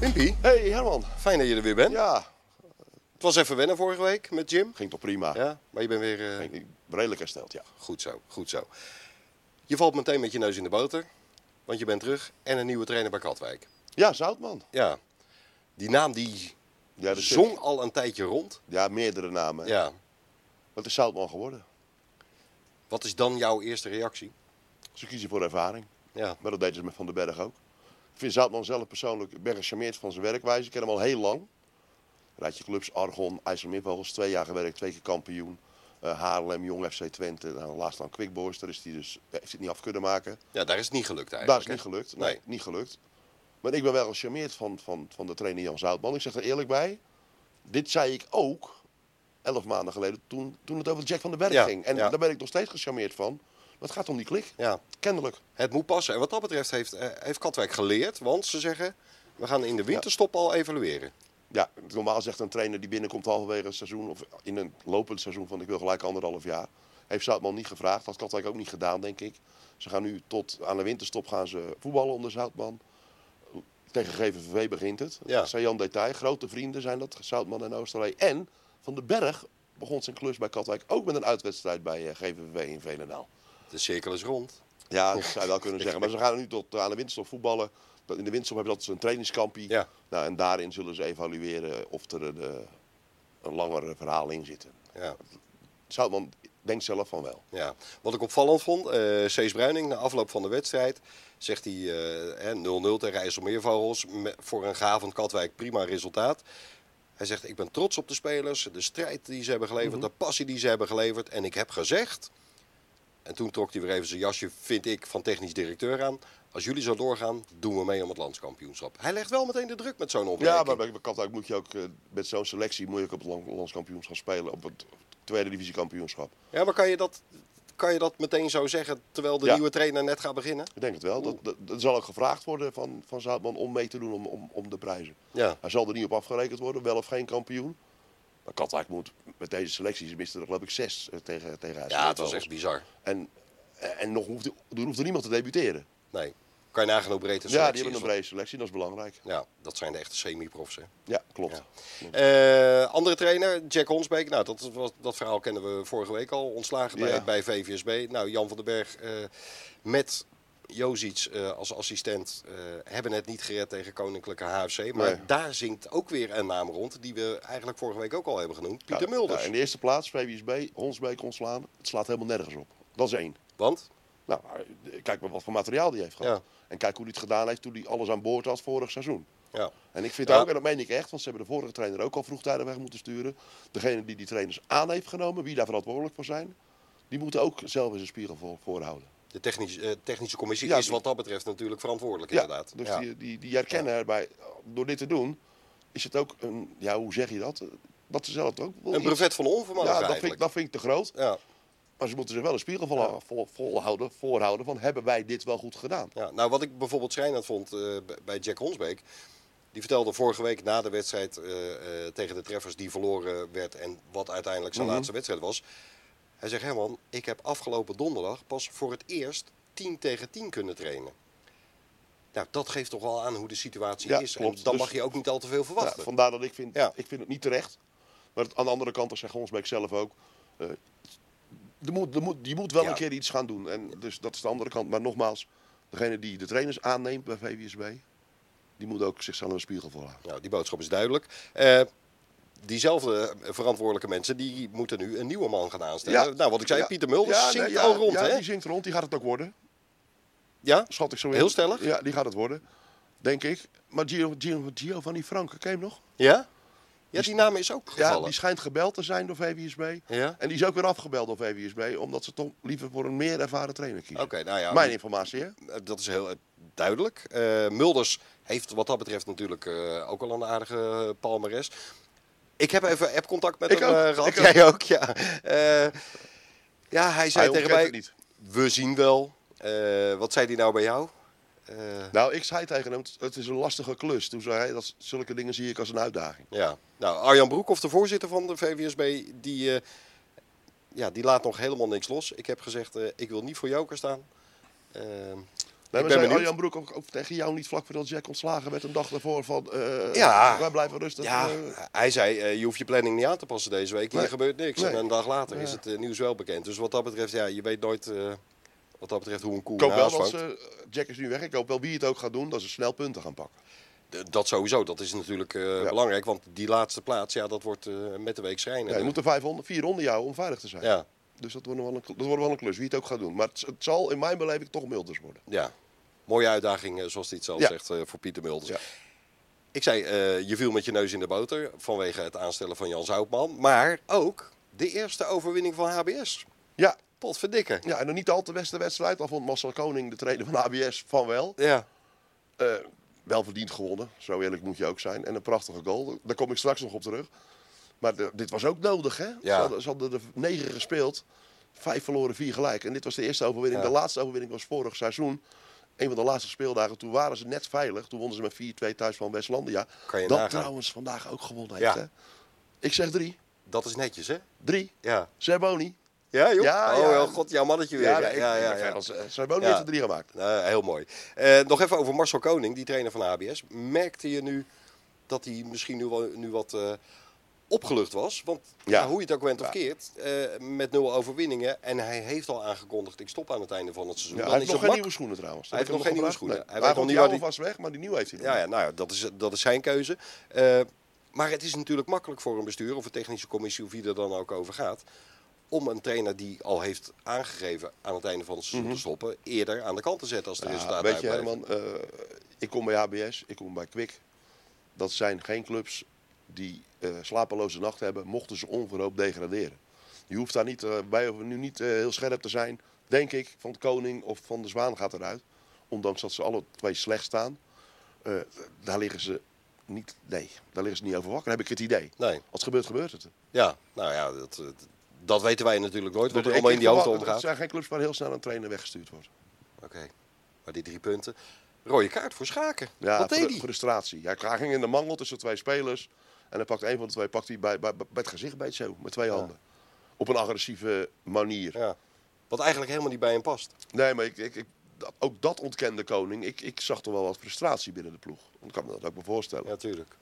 Wimpy, Hey Herman. fijn dat je er weer bent. Ja, Het was even wennen vorige week met Jim. ging toch prima. Ja, maar je bent weer eh, Ik- ik- Redelijk hersteld, ja. goed zo, goed zo. Je valt meteen met je neus in de boter, want je bent terug en een nieuwe trainer bij Katwijk. Ja, Zoutman. Ja, die naam die Ja, dat is- zong al een tijdje rond. Ja, meerdere namen. Ja, Wat is Zoutman geworden? wat is dan jouw eerste reactie? Ze kiezen voor ervaring. Ja, Maar dat deden ze met Van den Berg ook. Ik vind Zoutman zelf persoonlijk, ik ben gecharmeerd van zijn werkwijze. Ik ken hem al heel lang. Raadje clubs, Argon, IJsselmeervogels, twee jaar gewerkt, twee keer kampioen. Eh, Haarlem, Jong FC Twente, nou, laatst dan Quick Boys. Daar is hij dus, eh, heeft hij het niet af kunnen maken. ja daar is het niet gelukt eigenlijk. Dat is niet hè? gelukt. Nee, Nee. niet gelukt. Maar ik ben wel gecharmeerd van, van, van de trainer Jan Zoutman. Ik zeg er eerlijk bij. Dit zei ik ook elf maanden geleden toen, toen het over Jack van den Berg Ja, ging. En ja. daar ben ik nog steeds gecharmeerd van. Maar het gaat om die klik. Ja, Kennelijk. het moet passen. En wat dat betreft heeft, eh, heeft Katwijk geleerd, want ze zeggen... We gaan in de winterstop al evalueren. Ja, normaal zegt een trainer die binnenkomt halverwege het seizoen. Of in een lopend seizoen van ik wil gelijk anderhalf jaar. Heeft Zoutman niet gevraagd. Dat had Katwijk ook niet gedaan denk ik. Ze gaan nu tot aan de winterstop gaan ze voetballen onder Zoutman. Tegen GVV begint het. Ja. Sajan Detail, grote vrienden zijn dat, Zoutman en Oosterlee. En Van den Berg begon zijn klus bij Katwijk ook met een uitwedstrijd bij eh, GVV in Veenendaal. De cirkel is rond. Ja, dat zou je wel kunnen zeggen. Maar ze gaan nu tot eh, aan de winterstop voetballen. Dat- In de winterstop hebben ze altijd een trainingskampie. Ja. Nou, en daarin zullen ze evalueren of er een, eh, een langer verhaal in zit. Ja. Zoutman denkt zelf van wel. Ja, wat ik opvallend vond, eh Cees Bruining na afloop van de wedstrijd zegt hij eh, hè, 0-0 tegen IJsselmeervogels. Me- Voor een gavend Katwijk prima resultaat. Hij zegt, ik ben trots op de spelers, de strijd die ze hebben geleverd, de passie die ze hebben geleverd. En ik heb gezegd, en toen trok hij weer even zijn jasje, vind ik, van technisch directeur aan. Als jullie zo doorgaan, doen we mee om het landskampioenschap. Hij legt wel meteen de druk met zo'n opmerking. Ja, maar bij bij Katwijk moet je ook eh, met zo'n selectie moet je ook op het land- landskampioenschap spelen. Op het tweede divisiekampioenschap. Ja, maar kan je dat, kan je dat meteen zo zeggen terwijl de Ja. nieuwe trainer net gaat beginnen? Ik denk het wel. Dat, dat, dat zal ook gevraagd worden van, van Zoutman om mee te doen om, om, om de prijzen. Ja. Hij zal er niet op afgerekend worden, wel of geen kampioen. Maar Katwijk moet met deze selecties, ze misten er geloof ik zes eh, tegen, tegen AZ. Ja, het was echt bizar. En, en nog hoeft, er hoeft er niemand te debuteren. Nee. Kan je nagaan hoe breed een Ja, selectie die hebben een is, brede selectie, dat is belangrijk. want- Ja, dat zijn de echte semi-profs. hè. Ja, klopt. Eh, andere trainer, Jack Honsbeek. Nou, dat, was, dat verhaal kennen we vorige week al. Ontslagen bij, Ja. bij VVSB. Nou, Jan van den Berg eh, met Jozic eh, als assistent eh, hebben het niet gered tegen Koninklijke HFC. Maar Nee. daar zingt ook weer een naam rond die we eigenlijk vorige week ook al hebben genoemd. Pieter Ja, Mulders. ja, in de eerste plaats, VWSB, Honsbeek ontslaan. Het slaat helemaal nergens op. Dat is één. Want? Nou, maar kijk maar wat voor materiaal die heeft gehad. En kijk hoe hij het gedaan heeft toen hij alles aan boord had vorig seizoen. Ja. En ik vind Ja. ook, en dat meen ik echt, want ze hebben de vorige trainer ook al vroegtijdig weg moeten sturen. Degene die die trainers aan heeft genomen, wie daar verantwoordelijk voor zijn, die moeten ook zelf in zijn spiegel voor, voorhouden. De technische, eh, technische commissie Ja, is die- wat dat betreft natuurlijk verantwoordelijk inderdaad. Dus Ja. Die, die, die herkennen erbij, door dit te doen, is het ook een, ja, hoe zeg je dat? Dat ze zelf ook wel Een iets- brevet van onvermogen Ja, dat vind, ik, eigenlijk. dat vind ik te groot. Ja. Maar ze moeten zich wel een spiegel vol, vol- volhouden, voorhouden van hebben wij dit wel goed gedaan? Ja, nou, wat ik bijvoorbeeld schrijnend vond eh, b- bij Jack Honsbeek. Die vertelde vorige week na de wedstrijd eh, eh, tegen de treffers die verloren werd. En wat uiteindelijk Mhm. zijn laatste wedstrijd was. Hij zegt, Herman, ik heb afgelopen donderdag pas voor het eerst 10 tegen 10 kunnen trainen. Nou, dat geeft toch wel aan hoe de situatie Ja, is. klopt. En dan Dus- mag je ook niet al te veel Ja, verwachten. Nou, vandaar dat ik vind, Ja. ik vind het niet terecht. Maar het- aan de andere kant, dat zegt Honsbeek zelf ook, eh, er moet, er moet, je moet wel Ja. een keer iets gaan doen. En dus dat is de andere kant. Maar nogmaals, degene die de trainers aanneemt bij VWSB, die moet ook zichzelf een spiegel volhouden. Nou, die boodschap is duidelijk. Eh, diezelfde eh, verantwoordelijke mensen die moeten nu een nieuwe man gaan aanstellen. Nou, wat ik zei, Ja. Pieter Mulders Ja, zingt nee, ja, al rond, ja, hè? die zingt rond, die gaat het ook worden. Ja? Schat ik zo in. Heel stellig? Ja, die gaat het worden. Denk ik. Maar Gio, Gio, Gio van die Franke, ken je hem nog? Ja? Ja, die naam is ook Ja, gevallen. die schijnt gebeld te zijn door VWSB. Ja? En die is ook weer afgebeld door VWSB, omdat ze toch liever voor een meer ervaren trainer kiezen. Oké, nou ja. Mijn informatie, hè? eh, Dat is heel eh, duidelijk. Eh, Mulders heeft wat dat betreft natuurlijk eh, ook al een aardige eh, palmares. Ik heb even app-contact met Ik hem ook, eh, gehad. ik ook. Jij ook, ja. Eh, ja, hij zei Hij tegen ontkent mij, het niet. we zien wel. Eh, wat zei hij nou bij jou? Eh, Nou, ik zei tegen hem, het is een lastige klus. Toen zei hij, dat, zulke dingen zie ik als een uitdaging. Ja, nou Arjan Broekhoff, de voorzitter van de VVSB, die eh, ja, die laat nog helemaal niks los. Ik heb gezegd, eh, ik wil niet voor joker staan. Ehm, Nee, ben maar zei benieuwd. Arjan Broek ook, ook tegen jou niet vlak voordat Jack ontslagen werd een dag daarvoor van... eh, Ja. Wij blijven rustig. ja, eh, hij zei, eh, je hoeft je planning niet aan te passen deze week. Hier Nee. gebeurt niks. Nee. En een dag later Ja. is het eh, nieuws wel bekend. Dus wat dat betreft, ja, je weet nooit eh, wat dat betreft hoe een koe ik een hoop wel haas dat vangt. ze- Jack is nu weg. Ik hoop wel wie het ook gaat doen, dat ze snel punten gaan pakken. D- Eh, Dat sowieso, dat is natuurlijk eh, Ja. belangrijk. Want die laatste plaats, ja, dat wordt eh, met de week schrijnen. Ja, je moet er 500, 400 jou om veilig te zijn. ja, Dus dat wordt, nog wel een, kl- dat wordt wel een klus, wie het ook gaat doen. Maar het, het zal in mijn beleving toch Milders worden. ja. mooie uitdaging, eh, zoals hij het zelf Ja. zegt, eh, voor Pieter Mulders. Ja. Ik zei, eh, je viel met je neus in de boter vanwege het aanstellen van Jan Zoutman. Maar ook de eerste overwinning van HBS. Ja, Potverdikke. ja en nog niet al te beste wedstrijd. Al vond Marcel Koning, de trainer van ABS, van wel. Ja. Eh, wel verdiend gewonnen, zo eerlijk moet je ook zijn. En een prachtige goal, daar kom ik straks nog op terug. Maar de- dit was ook nodig, hè? Ze, Ja. hadden, ze hadden er negen gespeeld, vijf verloren, vier gelijk. En dit was de eerste overwinning. Ja. De laatste overwinning was vorig seizoen. Een van de laatste speeldagen, toen waren ze net veilig. Toen wonnen ze met 4-2 thuis van Westlandia. Kan je dat nagaan. trouwens vandaag ook gewonnen heeft, Ja. hè? Ik zeg drie. Dat is netjes, hè? Drie. Ja. Zerboni. Ja, joh. Ja, oh, ja. oh, god, jouw mannetje weer. Ja, nee, ja, ik- eh, ja, ik ja. ben fan van- Zerboni Ja. heeft er drie gemaakt. Nou, heel mooi. Eh, nog even over Marcel Koning, die trainer van de HBS. Merkte je nu dat hij misschien nu, wel- nu wat eh, opgelucht was? Want Ja. ja, hoe je het ook went of Ja. keert, eh, met nul overwinningen. En hij heeft al aangekondigd, ik stop aan het einde van het seizoen. Ja, Dan hij heeft nog is het geen mak- nieuwe schoenen trouwens. Hij Dat heeft heb ik nog hem geen nieuwe gevraagd. schoenen. Nee. Hij Hij weet nog vond niet die waar oude vast weg, maar die nieuwe heeft hij nog Ja, niet. ja, nou ja, dat is, dat is zijn keuze. Eh, maar het is natuurlijk makkelijk voor een bestuur of een technische commissie of wie er dan ook over gaat. Om een trainer die al heeft aangegeven aan het einde van het seizoen te stoppen, eerder aan de kant te zetten als de Mhm. Ja, resultaten Ah, Weet je, uitblijven. Herman, eh, ik kom bij HBS, ik kom bij Kwik. Dat zijn geen clubs die eh, slapeloze nacht hebben, mochten ze onverhoopt degraderen. Je hoeft daar niet, eh, bij of nu niet eh, heel scherp te zijn, denk ik, van de koning of van de zwaan gaat eruit. Ondanks dat ze alle twee slecht staan. Eh, daar liggen ze niet, nee, daar liggen ze niet over wakker, heb ik het idee. Nee, Als het gebeurt, gebeurt het. ja, nou ja, dat, dat- dat weten wij natuurlijk nooit, wat Dus er ik- allemaal ik in die auto verwacht- omgaat. Het zijn geen clubs waar heel snel een trainer weggestuurd wordt. Oké, maar die drie punten. Rode kaart voor Schaken. Ja, Wat fru- deed hij? frustratie. Ja, hij ging in de mangel tussen twee spelers. En dan pakt een van de twee pakt hij bij, bij, bij het gezicht bij het zo, met twee handen. Op een agressieve manier. Ja. Wat eigenlijk helemaal niet bij hem past. Nee, maar ik, ik, ik- dat- ook dat ontkende Koning. Ik, ik zag toch wel wat frustratie binnen de ploeg. Ik kan me dat ook me voorstellen. Ja, tuurlijk.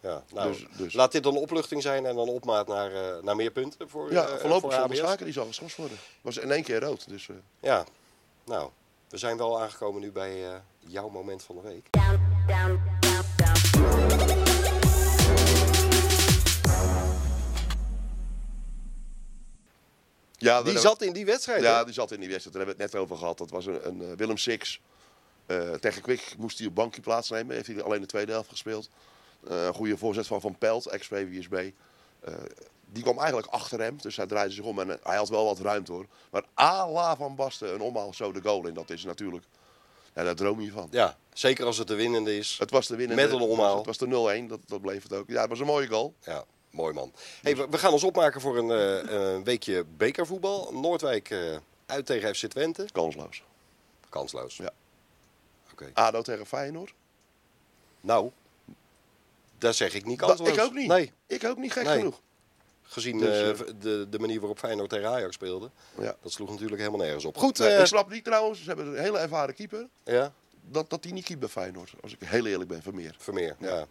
Ja, nou, Dus- dus- Laat dit dan een opluchting zijn en dan opmaat naar, eh, naar meer punten voor Ja, eh, voorlopig voor stond de ABS. schaken die zal geschorst worden. Was in één keer rood. Dus, eh, Ja, nou, we zijn wel aangekomen nu bij eh, jouw moment van de week. down, down, down, down. ja, Die daar- zat in die wedstrijd, Ja, hè? die zat in die wedstrijd. Daar hebben we het net over gehad. Dat was een, een eh, Willem Six. Eh, tegen Kwik moest hij op bankje plaatsnemen. Heeft hij alleen de tweede helft gespeeld. Eh, een goede voorzet van Van Pelt, ex-VWSB. Eh, die kwam eigenlijk achter hem. Dus hij draaide zich om. En eh, hij had wel wat ruimte hoor. Maar à la Van Basten, een omhaal zo de goal in. Dat is natuurlijk... Ja, daar droom je van. Ja, zeker als het de winnende is. Het was de winnende. Met een omhaal. Het was de 0-1. Dat, dat bleef het ook. Ja, het was een mooie goal. Ja, mooi man. Hey, we, we gaan ons opmaken voor een eh, een weekje bekervoetbal. Noordwijk eh, uit tegen FC Twente. Kansloos. Kansloos. Ja. Oké. ADO tegen Feyenoord. Nou, daar zeg ik niet Dat- kansloos. ik ook niet. Nee, Ik ook niet, gek Nee. genoeg. gezien Dus, eh, eh, v- de, de manier waarop Feyenoord tegen Ajax speelde. Ja. Dat sloeg natuurlijk helemaal nergens op. Goed, Nee, eh, ik snap niet trouwens, ze hebben een hele ervaren keeper. ja, Dat, dat die niet keept bij Feyenoord. Als ik heel eerlijk ben, Vermeer. Vermeer. Ja. ja.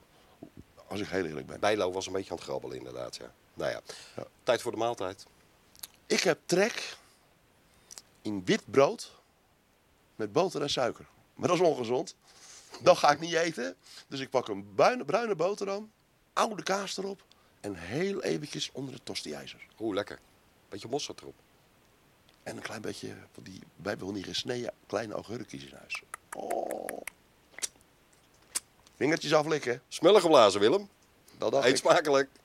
Als ik heel eerlijk ben. Bijlo was een beetje aan het grabbelen inderdaad, ja. Nou ja, Ja. tijd voor de maaltijd. Ik heb trek in wit brood met boter en suiker. Maar dat is ongezond. Dat ga ik niet eten. Dus ik pak een bruine, bruine boterham, oude kaas erop en heel eventjes onder de tosti-ijzer. Oeh, lekker. Beetje mosterd erop. En een klein beetje van die, wij hebben wel niet gesneden, kleine augurkjes in huis. Oh. Vingertjes aflikken. Smullen geblazen, Willem. Dat dacht Eet ik. smakelijk.